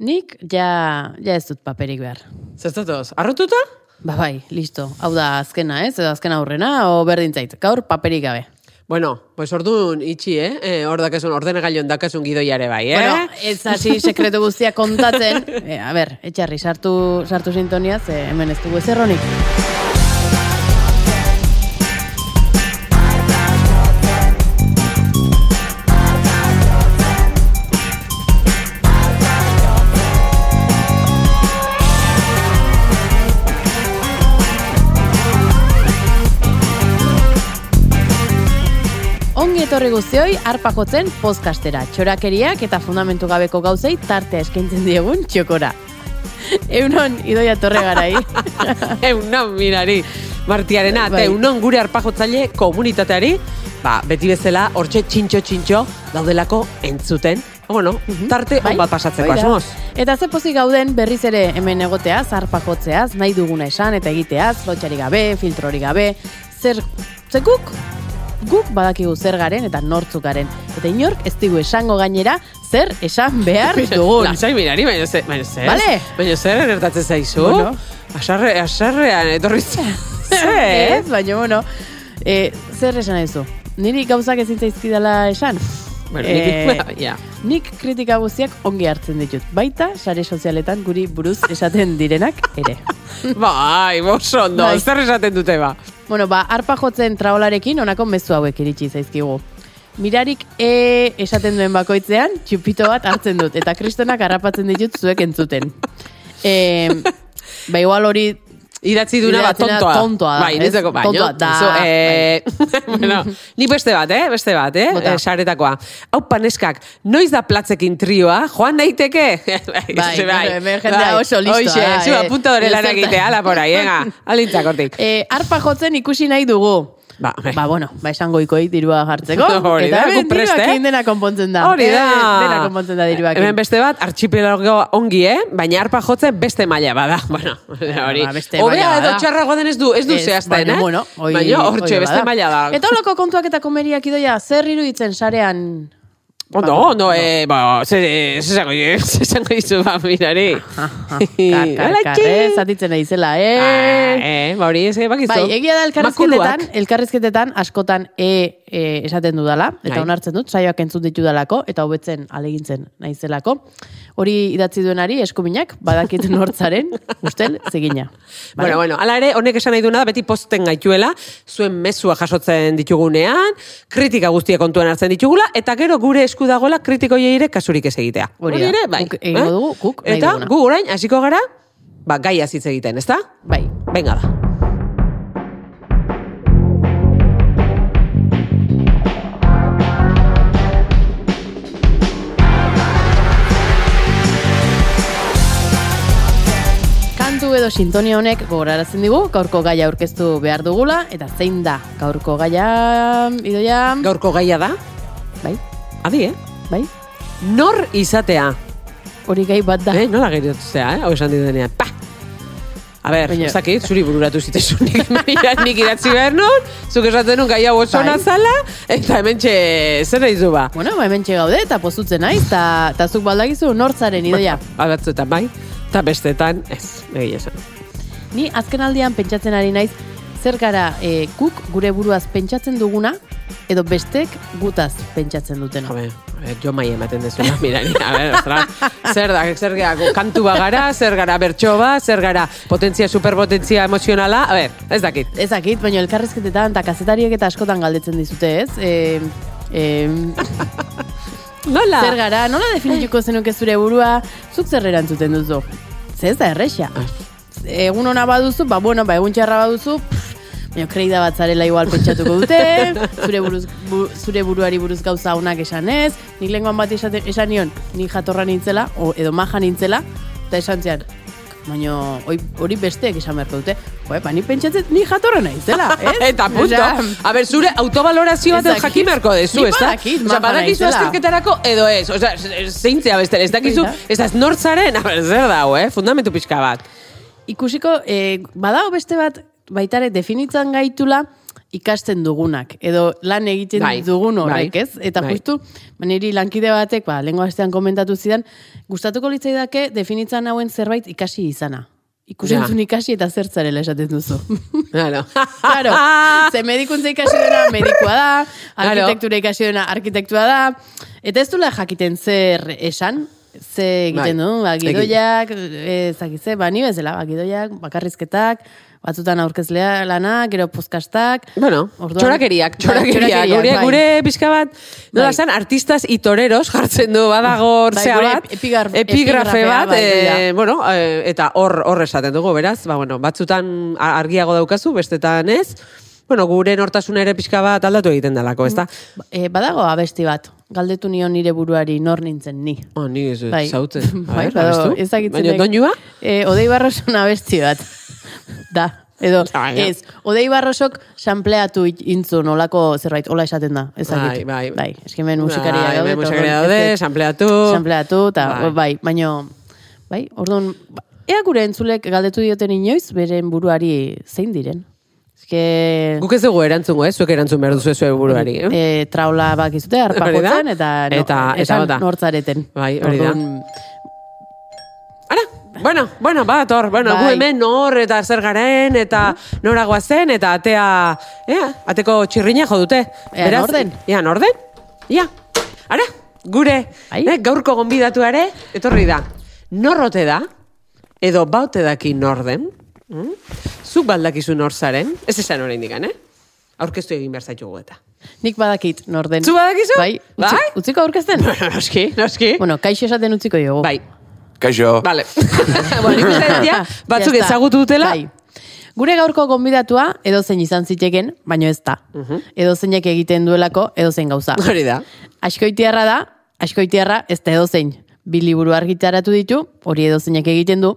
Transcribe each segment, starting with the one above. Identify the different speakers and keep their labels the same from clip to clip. Speaker 1: Nik, ja, ja ez dut paperik behar.
Speaker 2: Zertatoz, arrotuta?
Speaker 1: Ba bai, listo. Hau da azkena, ez? Edo azken aurrena, o berdin zait. Gaur paperik gabe.
Speaker 2: Bueno, pues orduan itxi, eh? eh hor dakasun, ordenagailon dakasun gidoiare bai, eh?
Speaker 1: Bueno, ez hasi sekretu guztia kontatzen. e, a ber, etxarri, sartu, sartu sintonia, ze hemen ez dugu ezerronik. Ongi etorri guztioi arpa jotzen podcastera, txorakeriak eta fundamentu gabeko gauzei tartea eskaintzen diegun txokora. Eunon, idoia eh? torre garai.
Speaker 2: Eunon mirari, martiarena, eta
Speaker 1: Bai.
Speaker 2: eunon gure arpajotzaile komunitateari, ba, beti bezala, hortxe txintxo-txintxo daudelako entzuten, Ba, bueno, tarte
Speaker 1: Bai,
Speaker 2: on bat pasatzeko
Speaker 1: bai da.
Speaker 2: asmoz.
Speaker 1: Eta ze pozik gauden berriz ere hemen egoteaz, arpakotzeaz, nahi duguna esan eta egiteaz, lotxari gabe, filtrori gabe, zer, ze guk, guk badakigu zer garen eta nortzuk garen. Eta inork ez digu esango gainera zer esan behar dugun.
Speaker 2: Lasai mirari, baina zer, baina zer,
Speaker 1: Bale.
Speaker 2: baina zer gertatzen zaizu?
Speaker 1: Bueno.
Speaker 2: Asarre, asarrean etorri zen.
Speaker 1: Ez,
Speaker 2: Zer?
Speaker 1: baina bueno, e, zer esan nahi zu? Niri gauzak ezin zaizkidala esan?
Speaker 2: Bueno,
Speaker 1: Eh,
Speaker 2: nik, Bai. ja.
Speaker 1: Nik kritika guztiak ongi hartzen ditut, baita sare sozialetan guri buruz esaten direnak ere.
Speaker 2: Bai, oso ondo,
Speaker 1: Bai.
Speaker 2: zer esaten dute ba.
Speaker 1: Bueno, ba, arpa jotzen traolarekin honako mezu hauek iritsi zaizkigu. Mirarik e esaten duen bakoitzean, txupito bat hartzen dut, eta kristonak harrapatzen ditut zuek entzuten. E, ba, igual hori...
Speaker 2: Idatzi duna bat
Speaker 1: Idatzina
Speaker 2: tontoa.
Speaker 1: tontoa da,
Speaker 2: Bai,
Speaker 1: ez?
Speaker 2: nintzeko baino.
Speaker 1: Tontoa da,
Speaker 2: Zu, eh, bueno, ni beste bat, eh? Beste bat, eh?
Speaker 1: Bota.
Speaker 2: eh saretakoa. Hau paneskak, noiz da platzekin trioa? Joan daiteke? bai,
Speaker 1: bueno, hemen jendea oso listoa
Speaker 2: Oixe,
Speaker 1: da,
Speaker 2: zu
Speaker 1: eh.
Speaker 2: apunta dore lan
Speaker 1: Edo zertan-
Speaker 2: egitea, ala porai, ega. Alintzak hortik.
Speaker 1: E, arpa jotzen ikusi nahi dugu.
Speaker 2: Ba, eh.
Speaker 1: Ba, bueno, ba, esangoikoi dirua jartzeko.
Speaker 2: Hori
Speaker 1: eta
Speaker 2: da,
Speaker 1: hemen
Speaker 2: gu prest,
Speaker 1: diruak
Speaker 2: eh?
Speaker 1: egin dena konpontzen da.
Speaker 2: Hori da.
Speaker 1: Eh, Dena konpontzen da diruak.
Speaker 2: Hemen beste bat, archipelago ongi, eh? Baina arpa jotzen beste maila bada. Bueno, hori.
Speaker 1: Ba, beste
Speaker 2: Hobea
Speaker 1: maila
Speaker 2: edo
Speaker 1: bada.
Speaker 2: txarragoa den ez du, ez du zehazten,
Speaker 1: baina,
Speaker 2: eh?
Speaker 1: Bueno, hoi,
Speaker 2: baina hortxe,
Speaker 1: hoi
Speaker 2: beste
Speaker 1: bada.
Speaker 2: maila da.
Speaker 1: Eta holako kontuak eta komeriak idoia, zer iruditzen sarean...
Speaker 2: Ondo,
Speaker 1: Ba,
Speaker 2: ondo, eh, ba, ze, ze zango ze zango dizu, ba, mirari.
Speaker 1: Ah, Kar, kar,
Speaker 2: Hola,
Speaker 1: kar,
Speaker 2: txi!
Speaker 1: eh, zatitzen ari zela,
Speaker 2: Ah,
Speaker 1: eh?
Speaker 2: eh, ba, hori, ze, bakizu.
Speaker 1: Bai, egia da elkarrizketetan,
Speaker 2: Makuluak.
Speaker 1: elkarrizketetan askotan e, e esaten dudala, eta
Speaker 2: Bai.
Speaker 1: onartzen dut, saioak entzun ditudalako, eta hobetzen alegintzen naizelako. Hori idatzi duenari, eskuminak, badakit nortzaren, ustel, zegina.
Speaker 2: Bueno, bueno, ala ere, honek esan nahi duena da, beti posten gaituela, zuen mezua jasotzen ditugunean, kritika guztia kontuan hartzen ditugula, eta gero gure esku dagoela kritikoiei ere kasurik ez egitea.
Speaker 1: Hori da.
Speaker 2: ere, bai.
Speaker 1: Guk egingo dugu, guk nahi
Speaker 2: Eta
Speaker 1: duguna.
Speaker 2: gu orain, hasiko gara, ba, gai hitz egiten, ezta?
Speaker 1: Bai,
Speaker 2: Venga, ba.
Speaker 1: Kantu edo sintonia honek gogoraratzen digu, gaurko gaia aurkeztu behar dugula, eta zein da gaurko gaia, idoia...
Speaker 2: Gaurko gaia da,
Speaker 1: Bai,
Speaker 2: adi, eh?
Speaker 1: bai,
Speaker 2: Nor izatea.
Speaker 1: hori gai bat da.
Speaker 2: Eh, nola geriotzea, eh? Hau esan didenean, pa! A ber,
Speaker 1: Baina-
Speaker 2: ez dakit, zuri bururatu zitezun nik, mira, nik idatzi behar nun, zuk esaten nun gai hau oso
Speaker 1: Bai.
Speaker 2: nazala, eta hemen txe, zer nahi zu ba?
Speaker 1: Bueno, ba, hemen gaude eta pozutzen naiz, eta eta zuk baldakizu nortzaren idoia.
Speaker 2: Ba, batzuetan bai, eta bestetan, ez, egia esan.
Speaker 1: Ni azken aldian pentsatzen ari naiz, zer gara eh, guk gure buruaz pentsatzen duguna, edo bestek gutaz pentsatzen
Speaker 2: A
Speaker 1: dutena.
Speaker 2: ber, a ber, jo mai ematen dezuna, mira, ni, a ber, ostra, zer da, zer gara, kantu bagara, zer gara bertso ba, zer gara potentzia, superpotentzia emozionala, a ber, ez dakit.
Speaker 1: Ez dakit, baina elkarrezketetan eta kazetariek eta askotan galdetzen dizute, ez? E,
Speaker 2: Nola?
Speaker 1: zer gara, nola definituko zenuke zure burua, zuk zer erantzuten duzu? Ze ez da erresa.
Speaker 2: Ah.
Speaker 1: Egun ona baduzu, ba bueno, ba egun txarra baduzu, pff, baina kreida bat zarela igual pentsatuko dute, zure, buruz, bu- zure buruari buruz gauza onak esan ez, nik lenguan bat esate- esan nion, nik jatorra nintzela, o, edo maja nintzela, eta esan zian, baina hoi- hori besteek esan beharko dute, Joe, ba, ni pentsatzen, ni jatorra naizela, ez?
Speaker 2: Eta punto.
Speaker 1: Osea,
Speaker 2: a ber, zure autobalorazio
Speaker 1: Ez
Speaker 2: bat
Speaker 1: dakit.
Speaker 2: jakin beharko dezu,
Speaker 1: Nik
Speaker 2: ez da?
Speaker 1: badakit,
Speaker 2: Osea,
Speaker 1: maja
Speaker 2: badakizu
Speaker 1: naizela.
Speaker 2: azterketarako edo ez. Osea, zeintzea beste, ez dakizu,
Speaker 1: Hori
Speaker 2: ez da nortzaren, a ber, zer dau, eh? Fundamentu pixka bat.
Speaker 1: ikusiko, e, badao beste bat, baitare definitzen gaitula, ikasten dugunak, edo lan egiten
Speaker 2: Bai,
Speaker 1: dugun horrek,
Speaker 2: bai,
Speaker 1: ez? Eta
Speaker 2: bai.
Speaker 1: justu, ba, niri lankide batek, ba, lengo astean komentatu zidan, gustatuko litzaidake definitzan hauen zerbait ikasi izana. Ikusentzun ikasi eta zertzarela esaten duzu.
Speaker 2: Claro.
Speaker 1: Claro, ze medikuntza ikasi dena medikua da,
Speaker 2: Claro.
Speaker 1: arkitektura ikasi dena arkitektua da, eta ez dula jakiten zer esan, ze
Speaker 2: Bai.
Speaker 1: egiten du, ba, gidoiak, ez dakit ze, ba, ni bezala, ba, gidoiak, bakarrizketak, batzutan aurkezlea lana, gero podkastak.
Speaker 2: Bueno,
Speaker 1: Orduan-
Speaker 2: txorakeriak, txorakeriak.
Speaker 1: Bai, txorakeriak,
Speaker 2: gure,
Speaker 1: bai.
Speaker 2: gure pixka bat,
Speaker 1: Bai.
Speaker 2: nola zan, artistas y toreros jartzen du badago
Speaker 1: Bai,
Speaker 2: zea
Speaker 1: gure
Speaker 2: bat,
Speaker 1: epigraf-
Speaker 2: epigrafe
Speaker 1: epigrafea,
Speaker 2: bat,
Speaker 1: bai,
Speaker 2: eh,
Speaker 1: hori
Speaker 2: bueno, eh, eta hor hor esaten dugu, beraz, ba, bueno, batzutan a- argiago daukazu, bestetan ez, bueno, gure nortasuna ere pixka bat aldatu egiten dalako, ezta?
Speaker 1: E, badago abesti bat, galdetu nion nire buruari nor nintzen ni.
Speaker 2: Oh, ni ez
Speaker 1: Bai.
Speaker 2: zautzen.
Speaker 1: Bai, badago, ez dakit
Speaker 2: Baina,
Speaker 1: zeinek-
Speaker 2: doinua?
Speaker 1: Eh, Odei Barroson abesti bat. da. Edo,
Speaker 2: Baina.
Speaker 1: ez, Odei Barrosok sampleatu it- intzun, olako zerbait, ola esaten da, ez dakit.
Speaker 2: Bai, bai.
Speaker 1: Bai, eskimen musikaria
Speaker 2: Bai,
Speaker 1: daude.
Speaker 2: hemen
Speaker 1: eta
Speaker 2: musikaria
Speaker 1: orduan,
Speaker 2: daude,
Speaker 1: ez-
Speaker 2: sampleatu.
Speaker 1: Sampleatu, eta
Speaker 2: Bai.
Speaker 1: bai, baino, bai, orduan, ba- ea gure entzulek galdetu dioten inoiz, beren buruari zein diren. Ezke...
Speaker 2: Guk ez dugu erantzungo, ez? Zuek erantzun behar duzu zuen buruari. Eh?
Speaker 1: e, traula bakizute,
Speaker 2: Hori da.
Speaker 1: arpakotzen, eta, no,
Speaker 2: Eta- eta
Speaker 1: esan
Speaker 2: bota.
Speaker 1: nortzareten.
Speaker 2: Bai, hori da.
Speaker 1: Orduan,
Speaker 2: Ara, bueno, bueno, bat hor, bueno,
Speaker 1: Bai.
Speaker 2: gu hemen hor eta zer garen eta nora goazen eta atea, ea, ateko txirrina jo dute.
Speaker 1: Ea, norden.
Speaker 2: Ea, norden? Ia. Ara, gure,
Speaker 1: Ai.
Speaker 2: eh, gaurko gonbidatuare, etorri da. Norrote da, edo baute daki norden, mm? zuk baldakizu nor zaren, ez esan orain digan, eh? Aurkeztu egin behar zaitugu eta.
Speaker 1: Nik badakit, norden.
Speaker 2: Zu badakizu?
Speaker 1: Bai. Utzi,
Speaker 2: Bai?
Speaker 1: Utziko aurkezten?
Speaker 2: noski, noski.
Speaker 1: bueno, kaixo esaten utziko diogu.
Speaker 2: Bai,
Speaker 3: Kaixo.
Speaker 2: Vale. bueno, nik uste dut ja, batzuk
Speaker 1: Ya está.
Speaker 2: ezagutu dutela.
Speaker 1: Bai. Gure gaurko gonbidatua edozein izan ziteken, baino ez da. Edozeinek egiten duelako edozein gauza.
Speaker 2: Hori da.
Speaker 1: Askoitiarra da, askoitiarra ez da edozein. Bi liburu argitaratu ditu, hori edozeinek egiten du.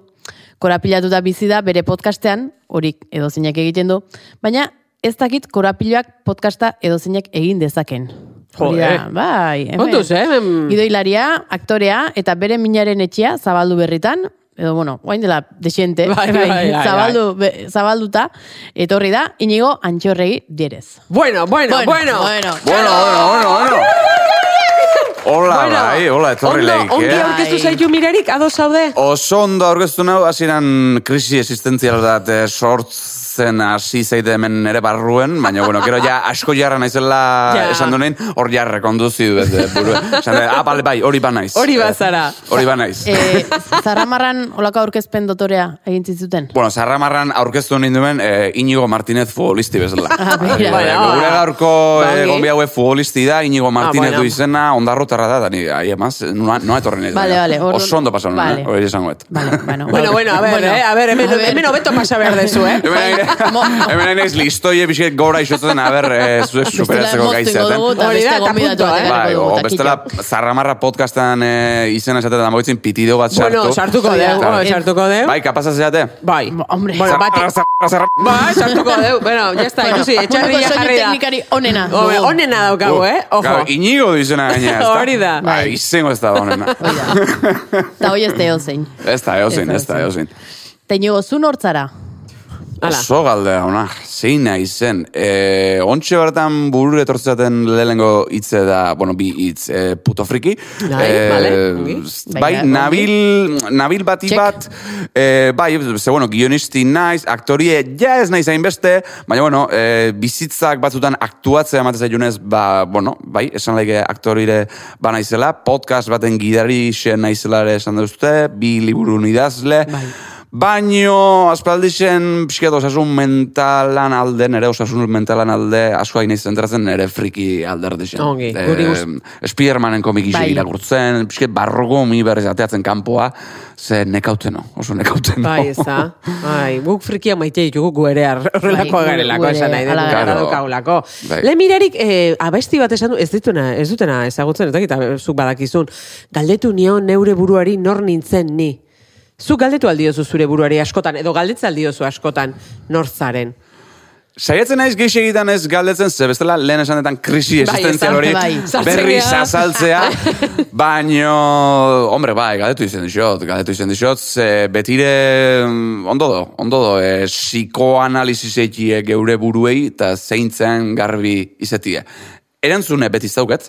Speaker 1: Korapilatuta bizi da bere podcastean, hori edozeinek egiten du. Baina ez dakit korapiloak podcasta edozeinek egin dezaken. Hori da,
Speaker 2: Joder.
Speaker 1: bai. hemen.
Speaker 2: Kontuz, eh, hemen-
Speaker 1: Gidoilaria, aktorea eta bere minaren etxea zabaldu berritan, edo bueno, guain dela desiente,
Speaker 2: Bai, bai, bai, bai.
Speaker 1: zabaldu, be- zabalduta, etorri da, inigo antxorregi dierez.
Speaker 2: Bueno, bueno,
Speaker 1: bueno.
Speaker 2: bueno.
Speaker 3: Bueno, bueno, bueno, bueno. Hola,
Speaker 2: Bueno,
Speaker 3: bai, hola, etorri
Speaker 2: ondo,
Speaker 3: lehik,
Speaker 2: Ongi
Speaker 3: eh?
Speaker 2: aurkeztu
Speaker 1: Bai.
Speaker 2: zaitu mirarik, ados zaude?
Speaker 3: Oso ondo aurkeztu nau, hasieran krisi existentzial dat eh, sortzen hasi zaite hemen ere barruen, baina, bueno, gero ja asko jarra naizela
Speaker 2: Ja.
Speaker 3: esan du nahin, hor jarra konduzi du, eh, buru. Esan dut, ah, bale, bai, hori ba naiz.
Speaker 2: Hori bazara. Eh,
Speaker 3: Hori ba naiz.
Speaker 1: e, Zarramarran olako aurkezpen dotorea egin zizuten.
Speaker 3: Bueno, zarramarran aurkeztu ninduen eh, Inigo Martinez futbolisti bezala.
Speaker 1: Ah, Bai. Ah, bera.
Speaker 3: Eh,
Speaker 2: Bueno,
Speaker 3: Gure
Speaker 2: ah.
Speaker 3: gaurko
Speaker 2: Bangi.
Speaker 3: eh, gombi haue futbolisti da, Inigo Martinez
Speaker 2: bueno.
Speaker 3: du izena, ondarrotarra da, dani, ahi emaz, noa, noa etorri nahi.
Speaker 1: Vale, vale, orduan-
Speaker 3: Oso ondo pasan,
Speaker 1: Vale.
Speaker 3: vale. hori esango et.
Speaker 1: Vale, bueno,
Speaker 2: Bueno, bueno, a ver, eh, a ver, hemen- hemen hobeto pasa behar dezu, eh?
Speaker 3: Hemen hain- hemen hain ez listoie pixket gora isotzen, aber, eh, zuek superatzeko gaizeaten.
Speaker 2: Hori da,
Speaker 1: Hori da,
Speaker 2: eta punto, eh?
Speaker 3: eh. Bai, o, bestela, zarramarra podcastan eh, izena esaten da moitzin pitido bat sartu.
Speaker 2: Bueno, sartuko
Speaker 1: Hori da.
Speaker 2: deu, oh,
Speaker 1: Eh,
Speaker 2: sartuko deu.
Speaker 3: Bai, kapazaz zeate?
Speaker 2: Bai.
Speaker 1: Hombre.
Speaker 2: Bueno, bate.
Speaker 3: Zarramarra, zarramarra, zarramarra.
Speaker 2: Bai, sartuko deu. Bueno, ya está, ikusi, etxarria jarri da.
Speaker 1: teknikari onena.
Speaker 2: Hobe,
Speaker 1: dugu.
Speaker 2: Onena daukagu, eh?
Speaker 3: Uh, Claro,
Speaker 2: Ojo.
Speaker 3: Inigo du izena gaina, ezta?
Speaker 2: Hori da.
Speaker 3: Ba, izengo ez da honena.
Speaker 1: Bai. Hori da. Eta hoi ez da eozein.
Speaker 3: Ez da, eozin,
Speaker 1: Ez da,
Speaker 3: ez da, eozin.
Speaker 1: Eta inigo, zu nortzara.
Speaker 2: Hala.
Speaker 3: Oso galdera ona, zein nahi zen. E, ontxe bertan burur etortzaten lehengo hitze da, bueno, bi hitz, e, puto friki.
Speaker 2: Bai,
Speaker 3: Eh,
Speaker 2: bale, ongi.
Speaker 3: bai,
Speaker 1: Baina,
Speaker 3: nabil, nabil bati
Speaker 1: Check.
Speaker 3: bat, e, bai, ze bueno, guionisti naiz, aktorie, ja ez naiz hainbeste, baina, bueno, e, bizitzak batzutan aktuatzea ematen zailunez, ba, bueno, bai, esan laike aktorire ba naizela, podcast baten gidari xe naizela ere esan duzte, bi liburun idazle,
Speaker 2: Bai.
Speaker 3: Baino, aspaldixen, pixket osasun mentalan alde, nere osasun mentalan alde, asko hain zentratzen nere friki alderdixen.
Speaker 2: Ongi,
Speaker 3: Eh,
Speaker 2: guri gust-
Speaker 3: Spidermanen komik ise
Speaker 1: Bai.
Speaker 3: irakurtzen, pixket barroko mi berriz ateatzen kanpoa, ze nekauten no, oso nekauten no.
Speaker 2: Bai, ez da. Ai, guk frikia maite ditugu gu ere ar- horrelakoa
Speaker 1: Bai, gu-
Speaker 2: garelako
Speaker 1: gu ere,
Speaker 2: esan nahi dut.
Speaker 1: hala
Speaker 3: gara.
Speaker 2: Gara daukagulako.
Speaker 3: Bai.
Speaker 2: Lehen mirarik, eh, abesti bat esan du, ez dituna, ez dutena ezagutzen, eta kita zuk badakizun. Galdetu nion neure buruari nor nintzen ni. Zuk galdetu aldiozu zure buruari askotan, edo galdetza aldiozu askotan nor zaren.
Speaker 3: Saiatzen naiz gehi egiten ez galdetzen, ze bestela lehen esanetan krisi
Speaker 2: Bai,
Speaker 3: existentzial hori
Speaker 1: bai.
Speaker 3: berri
Speaker 2: Sartzea.
Speaker 3: zazaltzea, baino, hombre, bai, galdetu izen dixot, galdetu izen dixot, ze betire, mm, ondo do, ondo do, e, psikoanalizisekiek geure buruei, eta zeintzen garbi izetie. Erantzune beti zauket,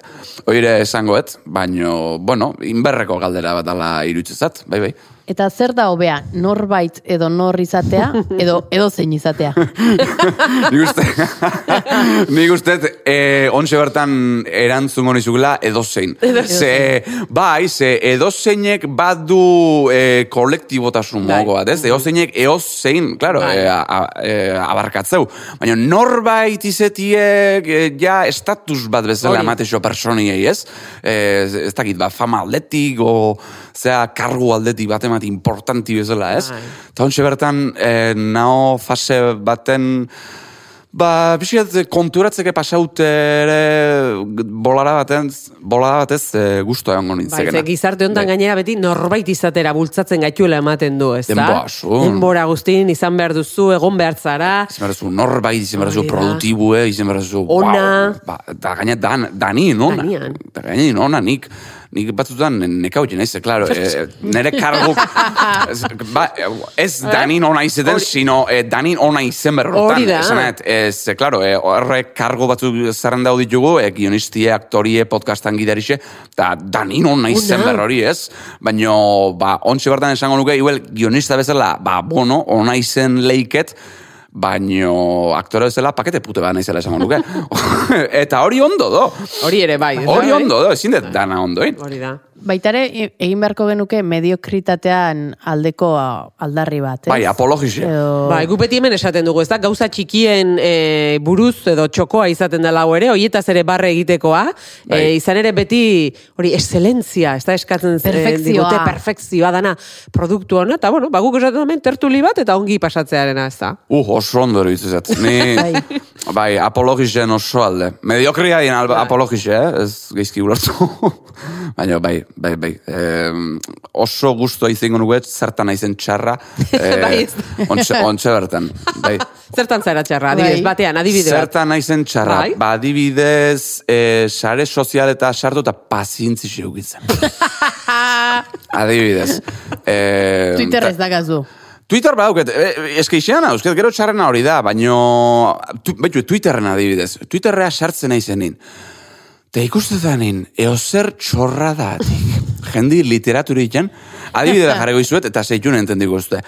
Speaker 3: oire esangoet, baino, bueno, inberreko galdera bat ala irutzezat, bai, bai.
Speaker 1: Eta zer da hobea, norbait edo nor izatea, edo edo zein izatea.
Speaker 3: Nik uste, nik uste, eh, ontxe bertan erantzungo nizugula edozein. Ze, bai, ze edozeinek badu eh, kolektibotasun
Speaker 2: Bai.
Speaker 3: mogo bat, ez? Edozeinek eozein, klaro,
Speaker 2: Bai.
Speaker 3: eh, a- a- eh, abarkatzeu. Baina norbait izetiek, eh, ja, estatus bat bezala
Speaker 2: Hori.
Speaker 3: ematexo personiei, ez? Eh, ez- ez dakit, ba, fama aldetik, o, zea, kargu aldetik bat emati importanti bezala, ez?
Speaker 2: Bai.
Speaker 3: Eta hontxe bertan, eh, nao fase baten, ba, pixkat konturatzeke pasaut ere bolara baten, bolara batez eh, guztua egongo
Speaker 2: Bai,
Speaker 3: nintzekena.
Speaker 2: ze gizarte honetan gainera beti norbait izatera bultzatzen gaituela ematen du, ez da?
Speaker 3: Denbora asun.
Speaker 2: Denbora guztin, izan behar duzu, egon behar zara.
Speaker 3: Izan behar duzu norbait, izan behar duzu
Speaker 2: Hori da.
Speaker 3: produktibue, izan behar duzu...
Speaker 2: Ona.
Speaker 3: Wow, ba, da gaina dan, danin ona.
Speaker 2: Danian.
Speaker 3: Da gaina ona nik. Nik batzutan nekau naiz, ze, klaro, eh, nere karguk... ez, ba, ez danin ona izeten, sino eh, danin ona izen berrotan.
Speaker 2: Hori da.
Speaker 3: Esan nahi, ez, klaro, eh, horre kargo batzuk zerren dau ditugu, eh, guionistie, aktorie, podcastan gidarixe, eta danin ona izen
Speaker 2: Ona.
Speaker 3: berrori, ez? Baina, ba, ontsi bertan esango nuke, igual, guionista bezala, ba, bono, ona izen leiket, baino aktore bezala pakete pute bat naizela esango nuke. Eta hori ondo do.
Speaker 2: Hori ere, bai. ez da?
Speaker 3: Hori ondo do, ezin dut dana ondo, eh?
Speaker 2: Hori da.
Speaker 1: Baitare, e- egin beharko genuke mediokritatean aldeko ah, aldarri bat, ez?
Speaker 3: Bai, apologixe.
Speaker 1: Edo-
Speaker 2: Ba, guk beti hemen esaten dugu, ez da, gauza txikien e, buruz edo txokoa izaten dela hau ere, hoietaz ere barre egitekoa,
Speaker 3: Bai.
Speaker 2: e, izan ere beti, hori, excelentzia, ez da, eskatzen zen,
Speaker 1: Perfekzioa.
Speaker 2: digute, perfekzioa dana produktu hona, eta bueno, ba, guk esaten hemen tertuli bat, eta ongi pasatzearena, ez da.
Speaker 3: Uh, oso ondo eruditu zait. Ni, bai, apologixen oso alde. Mediokria dien
Speaker 2: Bai.
Speaker 3: alba, apologixe, eh? ez geizki ulertu. Baina, bai, bai, bai. Em, oso guztua izango nuke, zertan naizen txarra. Eh,
Speaker 2: Bai, ez.
Speaker 3: ontxe, ontxe bertan. Bai.
Speaker 2: Zertan zara txarra, adibidez,
Speaker 1: Bai.
Speaker 2: batean, adibide bat.
Speaker 3: Zertan naizen txarra.
Speaker 2: Bai.
Speaker 3: Ba, adibidez, eh, sare sozial eta sartu eta pazientzi xeugitzen. adibidez. Eh,
Speaker 1: Twitter
Speaker 3: ta-
Speaker 1: ez dakazu.
Speaker 3: Twitter badauket, e, eske isean eusket, gero txarrena hori da, baino, tu, baitu, Twitterren adibidez, Twitterrea sartzen naizenin. Te ikustezanin, eozer txorra da, jendi literaturiken, adibidez jarriko izuet, eta zeitun entendiko uste.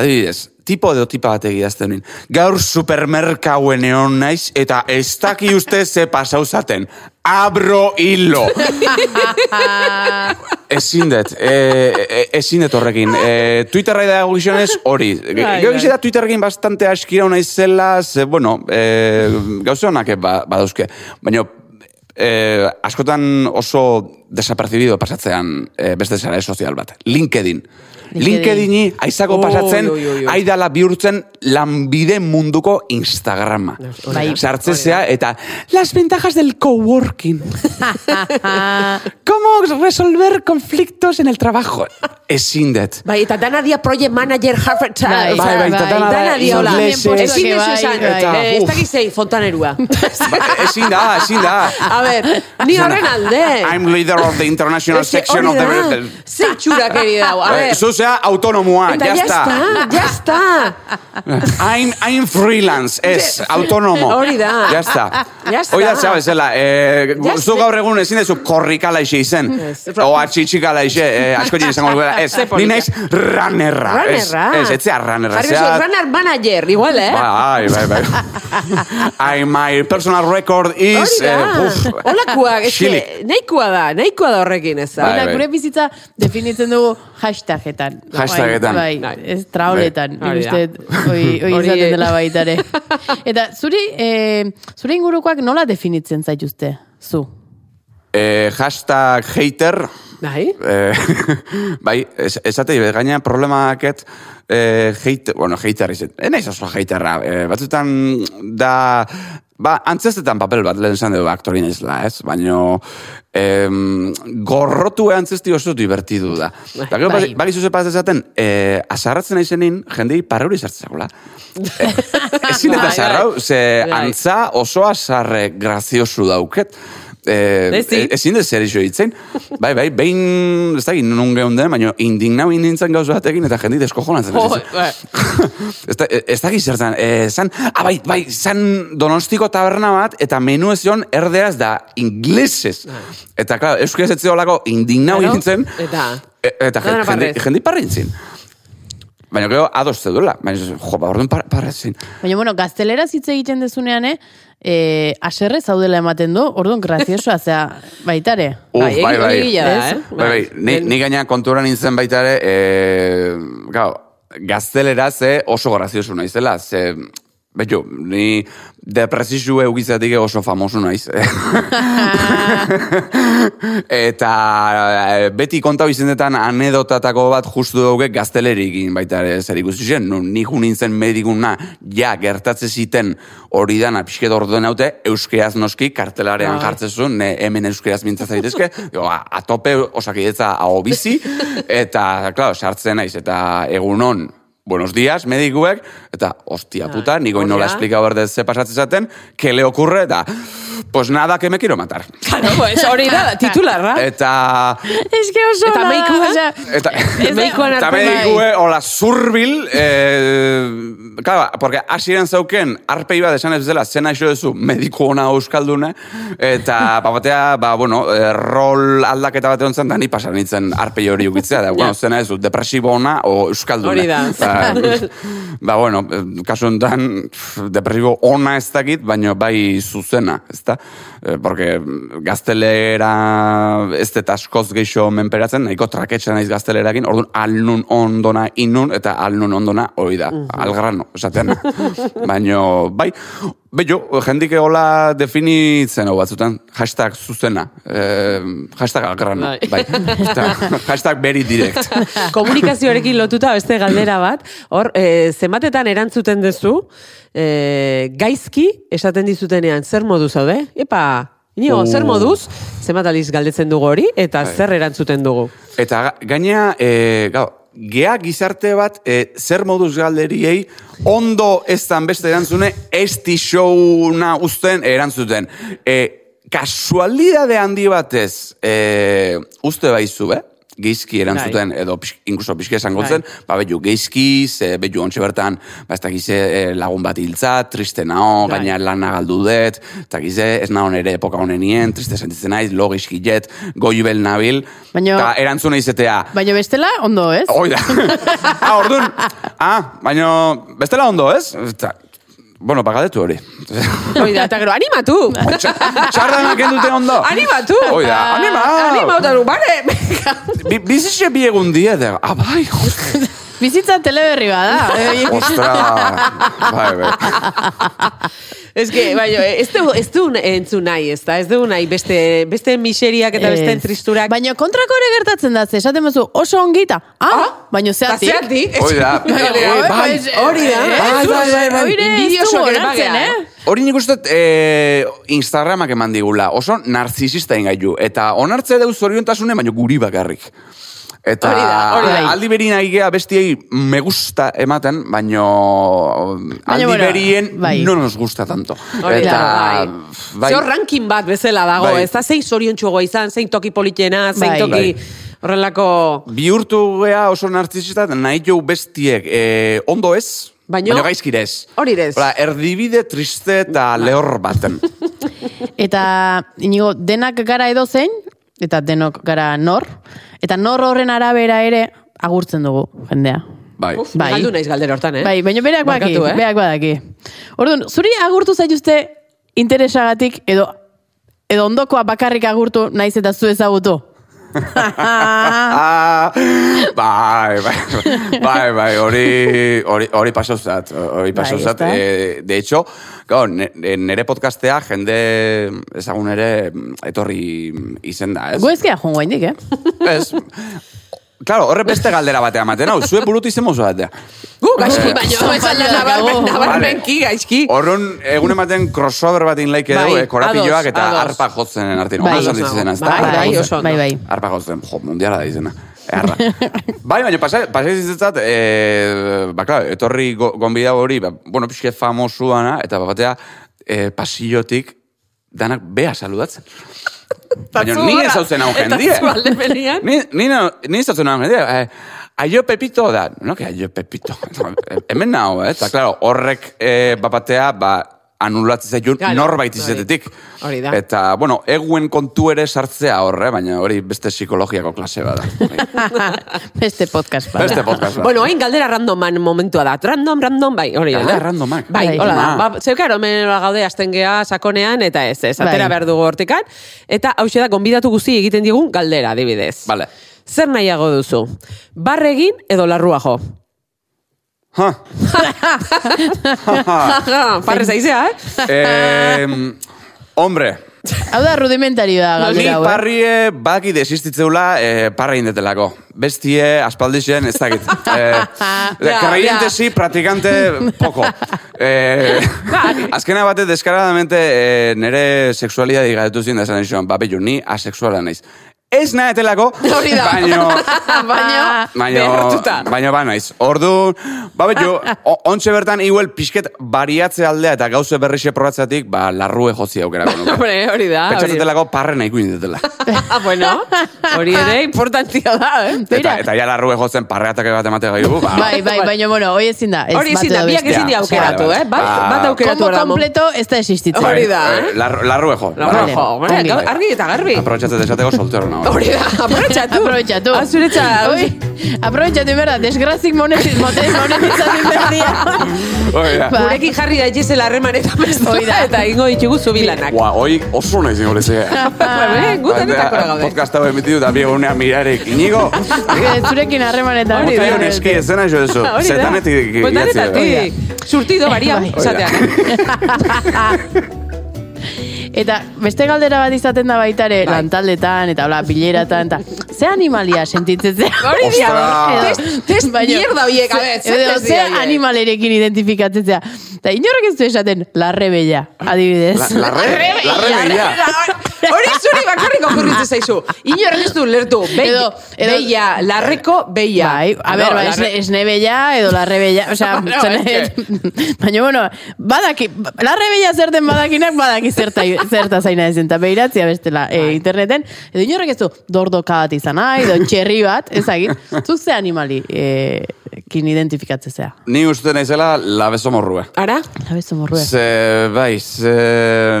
Speaker 3: Adibidez, tipo edo tipa bategi azten nin. Gaur supermerkauen eon naiz, eta ez daki uste ze pasauzaten. Abro hilo! Ezin dut, e, e, ezin dut horrekin. E, Twitterra da gizionez hori. Ge-
Speaker 2: Bai,
Speaker 3: Gero
Speaker 2: bai.
Speaker 3: gizeta Twitterrekin bastante askira naizela, izela, ze, bueno, e, gauze honak ba, badauzke. Baina, e, askotan oso desapercibido pasatzean e, beste zara sozial bat. LinkedIn.
Speaker 1: LinkedIn.
Speaker 3: LinkedIni aizako
Speaker 2: Oi,
Speaker 3: pasatzen,
Speaker 2: oi, oi, oi.
Speaker 3: aidala bihurtzen lanbide munduko Instagrama.
Speaker 1: Bai.
Speaker 3: Sartzezea eta las ventajas del coworking. ¿Cómo resolver conflictos en el trabajo? Ezin dut.
Speaker 2: Bai, eta dana dia project manager Harvard
Speaker 1: Bai,
Speaker 3: bai, bai, eta dana da
Speaker 2: dana dia hola.
Speaker 3: ingelesez.
Speaker 2: Ezin dezu
Speaker 1: Bai,
Speaker 2: esan,
Speaker 1: bai.
Speaker 2: eh, ez
Speaker 3: Uf.
Speaker 2: dakiz zein, fontanerua.
Speaker 3: Ba, Ezin da, ezin da.
Speaker 2: A ber, ni horren alde.
Speaker 3: I'm leader of the international
Speaker 2: Eske
Speaker 3: section of
Speaker 2: hori da.
Speaker 3: the...
Speaker 2: Ze itxurak eri dau, ah. a
Speaker 3: Eh,
Speaker 2: ber.
Speaker 3: Zu zea autonomoa,
Speaker 2: Eta
Speaker 3: ya está.
Speaker 2: ya está.
Speaker 3: I'm, I'm freelance, ez, autonomo.
Speaker 2: Hori da.
Speaker 3: Ya está.
Speaker 2: Ya está.
Speaker 3: Hori da, zea bezala, eh,
Speaker 2: Ya
Speaker 3: zu
Speaker 2: sé.
Speaker 3: gaur egun ezin dezu korrikala ise izen.
Speaker 2: Ez.
Speaker 3: O atxitxikala ise, eh, asko jiri izango duela. Ez,
Speaker 2: Ze
Speaker 3: ni
Speaker 2: polita.
Speaker 3: naiz runnerra. Ez,
Speaker 2: Runnerra.
Speaker 3: ez, ez zea runnerra.
Speaker 2: Jarri
Speaker 3: zea-
Speaker 2: duzu, runner manager, igual, eh?
Speaker 3: Bai, bai, bai. I, my personal record is...
Speaker 2: Hori da.
Speaker 3: eh, uf,
Speaker 2: Olakoak, ez
Speaker 3: xilik.
Speaker 2: que, nahikoa da, nahikoa da horrekin, ez da.
Speaker 3: Bai,
Speaker 1: Eta
Speaker 3: bai.
Speaker 1: gure bizitza definitzen dugu hashtagetan.
Speaker 3: Hashtagetan.
Speaker 1: Bai,
Speaker 2: Bai.
Speaker 1: bai, ez traoletan.
Speaker 2: Bai.
Speaker 1: Nik uste
Speaker 2: Hori da.
Speaker 1: dut hoi, hoi
Speaker 2: Hori-
Speaker 1: izaten dela baitare. Eta zuri, eh, zure ingurukoak nola definitzen zaituzte? Zu.
Speaker 3: Eh, hashtag hater.
Speaker 2: Bai?
Speaker 3: Eh, bai, es, esate, gaina problemaket eh, hate, bueno, hater izet. Ez naiz oso haterra. Eh, batzutan da... Ba, antzestetan papel bat lehen esan dugu aktori naizela, ez? Baino em, gorrotu antzesti oso divertidu da. Eta gero,
Speaker 1: Bai.
Speaker 3: bai. bakizu zepaz ezaten, eh, asarratzen aizenin, jendei parrauri sartzeakola. Eh, Ezin
Speaker 2: Bai,
Speaker 3: eta
Speaker 2: bai.
Speaker 3: sarrau, ze
Speaker 2: Bai.
Speaker 3: antza oso asarre graziosu dauket. Eh,
Speaker 2: Bezi.
Speaker 3: e- ezin dut zer iso ditzen. Bai, bai, behin, ez da, nun geunden, baina indignau nintzen gauza batekin eta jende desko jonatzen.
Speaker 2: Jo, bai.
Speaker 3: ez da, ez da gizertan, eh, zan, ah, bai, bai, zan donostiko taberna bat, eta menu ez zion erderaz da inglesez. Eta, claro, euskaz ez ziolako indignau
Speaker 2: Claro,
Speaker 3: nintzen.
Speaker 2: eta-
Speaker 3: e- eta
Speaker 2: Dana
Speaker 3: jende, jende,
Speaker 2: parrez.
Speaker 3: jende parra nintzen. Baina gero ados zeduela. Baina, jo, ba, orduan par, parra zin.
Speaker 1: Baina, bueno, gaztelera hitz egiten dezunean, eh, eh, aserre zaudela ematen du, orduan graziosoa, zea, baitare.
Speaker 3: Uf,
Speaker 2: Bai,
Speaker 3: bai,
Speaker 2: hori
Speaker 3: bai.
Speaker 2: egia da, eh?
Speaker 3: Bai, bai, ni,
Speaker 2: Ben-
Speaker 3: ni gaina kontura nintzen baita ere, e, gau, gaztelera ze oso graziosu naizela, ze, betu, ni depresixu eukizatik oso famosu naiz. eh. Eta e, beti konta bizentetan anedotatako bat justu dauke gaztelerikin baita ere zer ikusi zen, nun nik jo nintzen mediguna ja gertatze ziten hori dana pixket orduen haute, euskeaz noski kartelarean
Speaker 2: Bai.
Speaker 3: jartzezun, ne, hemen euskeaz mintza zaitezke, jo, a- atope osakidetza hau bizi, eta, claro, sartzen naiz, eta egunon, Buenos días, medikuek, eta hostia puta, nik oin
Speaker 2: Hola.
Speaker 3: nola esplika berde ze pasatzen zaten, que le ocurre, eta, pues nada, que me quiero matar.
Speaker 2: Claro, pues, hori da, titularra.
Speaker 3: Eta...
Speaker 1: Ez que oso
Speaker 2: Eta
Speaker 1: ona da,
Speaker 2: meikua?
Speaker 1: osea,
Speaker 3: Eta,
Speaker 1: Ez da-
Speaker 2: Meikua
Speaker 3: eta
Speaker 2: nartu nahi.
Speaker 3: medikue, hola, zurbil, eh, claro, porque asiren zauken, arpei bat esan ez bezala, zena iso duzu mediku ona euskaldune, eta bapatea, ba, bueno, eh, rol aldaketa bat egon zen, da ni pasan nintzen arpei hori ukitzea, da, bueno, zena ez du, depresibo ona o euskaldune.
Speaker 2: Hori da.
Speaker 3: Ba, ba, bueno, eh, kasu honetan, pff, depresibo ona ez dakit, baina bai zuzena, ez da? Eh, Porque gaztelera ez dut askoz geixo menperatzen, nahiko traketxe naiz gaztelerakin, orduan alnun ondona inun, eta alnun ondona hori da, algrano, esaten. baina, bai, Bello, jendik hola definitzen hau batzutan, hashtag zuzena, eh, hashtag algrano,
Speaker 2: Bai.
Speaker 3: bai. Eta hashtag very direct.
Speaker 2: Komunikazioarekin lotuta beste galdera bat, hor, e, zenbatetan erantzuten duzu, e, gaizki esaten dizutenean, zer modu zaude? Epa, Inigo,
Speaker 3: Oh. Bai.
Speaker 2: zer moduz, zenbat aldiz galdetzen dugu hori, eta zer erantzuten dugu.
Speaker 3: Eta ga- gaina, e, gau, gea gizarte bat e, zer moduz galderiei ondo ez dan beste erantzune ez tixouna uzten erantzuten. E, kasualidade handi batez e, uste baizu, be? geizki erantzuten, edo pix, inkluso pixke esango
Speaker 2: Bai.
Speaker 3: zen, ba, bellu geizki, ze bellu ontsi bertan, ba, ez dakize eh, lagun bat hiltza, triste nao,
Speaker 2: Bai.
Speaker 3: gaina lana galdu dut, ez dakize, ez nao nere epoka honenien, triste sentitzen naiz, lo geizkilet, goibel nabil,
Speaker 1: Baina-
Speaker 3: eta erantzuna izatea.
Speaker 1: Baina bestela, ondo, ez?
Speaker 3: Hoi da. ah, orduan. Ah, baina bestela ondo, ez? Eta, bueno, pagadetu hori.
Speaker 2: Hoi da, eta gero, animatu!
Speaker 3: Txarranak dute ondo.
Speaker 2: Animatu!
Speaker 3: Hoi da, anima!
Speaker 2: Anima, eta du, bare!
Speaker 3: Bi, bizixe bi egun die, da. Ah, bai.
Speaker 1: Bizitza teleberri bada. Eh,
Speaker 3: Ostra. Bai, bai.
Speaker 2: Ez que, baino, ez du, ez du entzun nahi, ez da, ez du nahi beste, beste miseriak eta beste
Speaker 1: Ez.
Speaker 2: tristurak.
Speaker 1: Baina kontrako ere gertatzen da, ze esaten bazu oso ongita. Ah, baina zeatik.
Speaker 2: Eta zeatik.
Speaker 3: Hoi da.
Speaker 1: Eh,
Speaker 3: Hoi, bai.
Speaker 1: pues, eh,
Speaker 2: hori da.
Speaker 1: eh,
Speaker 3: Bai, bai, bai, bai.
Speaker 1: Hori ere ez
Speaker 2: Invidiosoak
Speaker 1: dugu
Speaker 2: ere
Speaker 1: onartzen,
Speaker 2: bagara.
Speaker 1: eh?
Speaker 3: Hori nik uste dut, e, Instagramak eman digula, oso narzisista ingailu, eta onartze deu zoriontasune, baina guri bakarrik. Eta
Speaker 2: Hori da, hori da.
Speaker 3: aldi berin nahi gea bestiei me gusta ematen, baino aldi
Speaker 1: bueno,
Speaker 3: berien
Speaker 1: bai.
Speaker 3: no nos gusta tanto.
Speaker 2: Hori
Speaker 3: eta,
Speaker 2: da, bai.
Speaker 3: bai,
Speaker 2: Zeo ranking bat bezala dago,
Speaker 3: Bai.
Speaker 2: ez da zein zorion txugoa izan, zein toki politena, zein
Speaker 1: Bai.
Speaker 2: toki
Speaker 3: Bai.
Speaker 2: horrelako...
Speaker 3: bihurtu gea oso narzisista, eta nahi jo bestiek e, ondo ez,
Speaker 2: Baino-
Speaker 3: baino gaizkire ez.
Speaker 2: Hori ez.
Speaker 3: Hola, erdibide triste eta lehor baten.
Speaker 1: Eta, inigo, denak gara edo zein, eta denok gara nor, eta nor horren arabera ere agurtzen dugu, jendea.
Speaker 3: Bai.
Speaker 2: Uf,
Speaker 1: Bai.
Speaker 2: galdu naiz galdera hortan, eh?
Speaker 1: Bai, baina berak badaki,
Speaker 2: Barkatu, eh?
Speaker 1: berak badaki. Orduan, zuri agurtu zaituzte interesagatik edo edo ondokoa bakarrik agurtu naiz eta zu ezagutu.
Speaker 3: Ah, bai, bai, bai, bai, hori, hori, hori paso zat, hori paso
Speaker 1: Bai,
Speaker 3: zat.
Speaker 1: ezta?
Speaker 3: Eh, de hecho, claro, ne- nere podcastea jende ezagun ere etorri izen da, ez?
Speaker 1: Gu ezkea jongo indik, eh?
Speaker 3: Ez. Claro, horre beste galdera batea maten, hau, zue burutu izen mozo batea.
Speaker 2: Gu, gaizki, baina
Speaker 1: Bai.
Speaker 2: esan da nabarmen,
Speaker 1: Vale.
Speaker 2: nabarmenki, gaizki.
Speaker 1: Bai.
Speaker 3: Horren, egun ematen crossover bat inlaik edo,
Speaker 2: Bai,
Speaker 3: eh, korapiloak
Speaker 2: ados,
Speaker 3: eta
Speaker 2: ados.
Speaker 3: arpa jotzen artin.
Speaker 1: Bai,
Speaker 3: Bai, bai,
Speaker 1: bai,
Speaker 2: bai,
Speaker 1: bai,
Speaker 2: oso ondo.
Speaker 1: bai.
Speaker 3: Arpa jotzen, jo, mundiala da izena. Eh, erra. bai, baina pasai, pasai zizitzat, e, ba, klar, etorri go, gonbidau hori, ba, bueno, pixke famosuana, eta bat batea, e, pasillotik danak bea saludatzen. Baina ni ez hau zen hau jendie.
Speaker 2: ba- Eta zu alde benean.
Speaker 3: Ni, ni, no, ni ez hau zen hau jendie. Eh, aio Pepito da. No, que aio Pepito. Hemen nago, eh? Eta, klaro, horrek eh, bapatea, ba, anulatzen zaitun
Speaker 2: Claro,
Speaker 3: norbait
Speaker 2: hori.
Speaker 3: izatetik.
Speaker 2: Hori da.
Speaker 3: Eta, bueno, eguen kontu ere sartzea horre, baina hori beste psikologiako klase bada. Hori.
Speaker 1: Beste podcast bat.
Speaker 3: beste podcast bat.
Speaker 2: Bueno, hain galdera randoman momentua da. Random, random, bai, hori da.
Speaker 3: Galdera
Speaker 2: no?
Speaker 3: randomak.
Speaker 2: Bai,
Speaker 1: Bai.
Speaker 2: hola da.
Speaker 3: Ma.
Speaker 2: Ba, Zeu, karo, hemen hola gaude azten gea sakonean, eta ez, ez, atera
Speaker 1: Bai.
Speaker 2: behar dugu hortikan. Eta hau da, gonbidatu guzti egiten digun galdera, adibidez.
Speaker 3: Bale.
Speaker 2: Zer nahiago duzu? Barregin edo larrua jo?
Speaker 3: Ha.
Speaker 2: Parrez aizea, eh?
Speaker 3: Eh, hombre,
Speaker 1: Hau da rudimentari da
Speaker 3: Ni
Speaker 1: galdera hau. eh?
Speaker 3: parrie baki desistitzeula eh, parra indetelako. Bestie, aspaldixen, ez dakit. Eh,
Speaker 2: Ja,
Speaker 3: creyente
Speaker 2: ja.
Speaker 3: sí, practicante poco. Eh,
Speaker 2: Bai.
Speaker 3: azkena batez, deskaradamente, eh, nere sexualidade garetu zin da esan nixoan, ba, bello, ni asexuala naiz. Ez nahetelako,
Speaker 1: eh. Hori da.
Speaker 3: baino,
Speaker 1: Baina,
Speaker 3: Baina,
Speaker 2: Behartuta.
Speaker 3: baina ba naiz. Ordu, ba betxo, ontxe bertan igual pixket bariatze aldea eta gauze berrixe probatzeatik, ba, larrue jozi aukera konuke.
Speaker 2: Hombre, hori da. hori da.
Speaker 3: Pentsatzetelako parre nahiko indetela.
Speaker 2: Ah, bueno, hori ere importantia da, eh?
Speaker 1: Beira.
Speaker 3: Eta, eta ja larrue jotzen parreatak bat emate gaigu, ba.
Speaker 1: bai, bai, baina, bueno, hoi ezin da. Ez
Speaker 2: Hori ezin
Speaker 1: bat
Speaker 2: da,
Speaker 1: edo
Speaker 2: biak
Speaker 1: bestea.
Speaker 2: ezin di aukeratu,
Speaker 3: Vale,
Speaker 2: eh? Bat,
Speaker 3: vale.
Speaker 2: bat aukeratu
Speaker 1: Combo
Speaker 2: eramo.
Speaker 1: kompleto ez da existitzen.
Speaker 2: Hori da, eh?
Speaker 3: Lar, Bai, larrue jo.
Speaker 2: Larrua
Speaker 1: Vale,
Speaker 2: jo, hombre,
Speaker 1: ongi.
Speaker 2: gau- argi eta garbi.
Speaker 3: Aprobetxatzen esateko soltero nago.
Speaker 2: Hori da, aprobetxatu. Ah,
Speaker 1: Aprobetxatu.
Speaker 2: Azuretza.
Speaker 1: Oi, aprobetxatu inberda, desgrazik monetiz, motez monetizatzen berdia.
Speaker 3: Hori da.
Speaker 1: Ba.
Speaker 2: Gurekin jarri da Gisela harreman eta mestua
Speaker 1: Hoi da.
Speaker 2: eta ingo ditugu zubilanak.
Speaker 3: Ua, hoi oso nahi zingo lezea.
Speaker 2: Ba, Gutan eta kora gaude.
Speaker 3: Podcast hau emitidu da biegunean mirarek. Inigo,
Speaker 1: Eh, Zurekin harremanetan.
Speaker 2: Hori da.
Speaker 3: gutaion eski ezena jo eso.
Speaker 2: Ba, Hori da.
Speaker 3: Zetanetik idatzi.
Speaker 1: Hori
Speaker 2: Botanetatik. Surtido, baria,
Speaker 1: Bai.
Speaker 2: esatea.
Speaker 1: Eta beste galdera bat izaten da baitare
Speaker 2: Bai.
Speaker 1: ere lantaldetan eta hola bileratan eta ze animalia sentitzen zea?
Speaker 2: Hori dia,
Speaker 3: Ostra.
Speaker 1: Edo-
Speaker 2: test- test
Speaker 1: baino-
Speaker 2: mierda horiek, a ber, ze
Speaker 1: edo
Speaker 2: test
Speaker 1: ze
Speaker 2: dira horiek?
Speaker 1: animalerekin identifikatzen zea. Eta inorrek ez du esaten larre bella, adibidez.
Speaker 3: La- Larre, larre
Speaker 2: Larre,
Speaker 3: behia.
Speaker 2: larre. Hori zuri bakarrik okurritzen zaizu. Inor ez du lertu. Beia,
Speaker 1: Edo- edo-
Speaker 2: beia, larreko beia.
Speaker 1: Bai, a ber,
Speaker 2: Edo,
Speaker 1: bai,
Speaker 2: larre-
Speaker 1: esne, esne bella edo larre bella, osea,
Speaker 2: Bueno,
Speaker 1: zene- baina, bueno, badaki, larre bella zerten badakinak, badaki zerta, zerta zaina ezen, eta behiratzia bestela e,
Speaker 3: Bai.
Speaker 1: interneten, edo inorrek ez du dordoka bat izan, ah, edo txerri bat, ezagit, zuk ze animali e, kin identifikatzea.
Speaker 3: Ni uste naizela labezo morrua.
Speaker 2: Ara?
Speaker 1: Labezu morrue.
Speaker 3: Ze, bai, ze,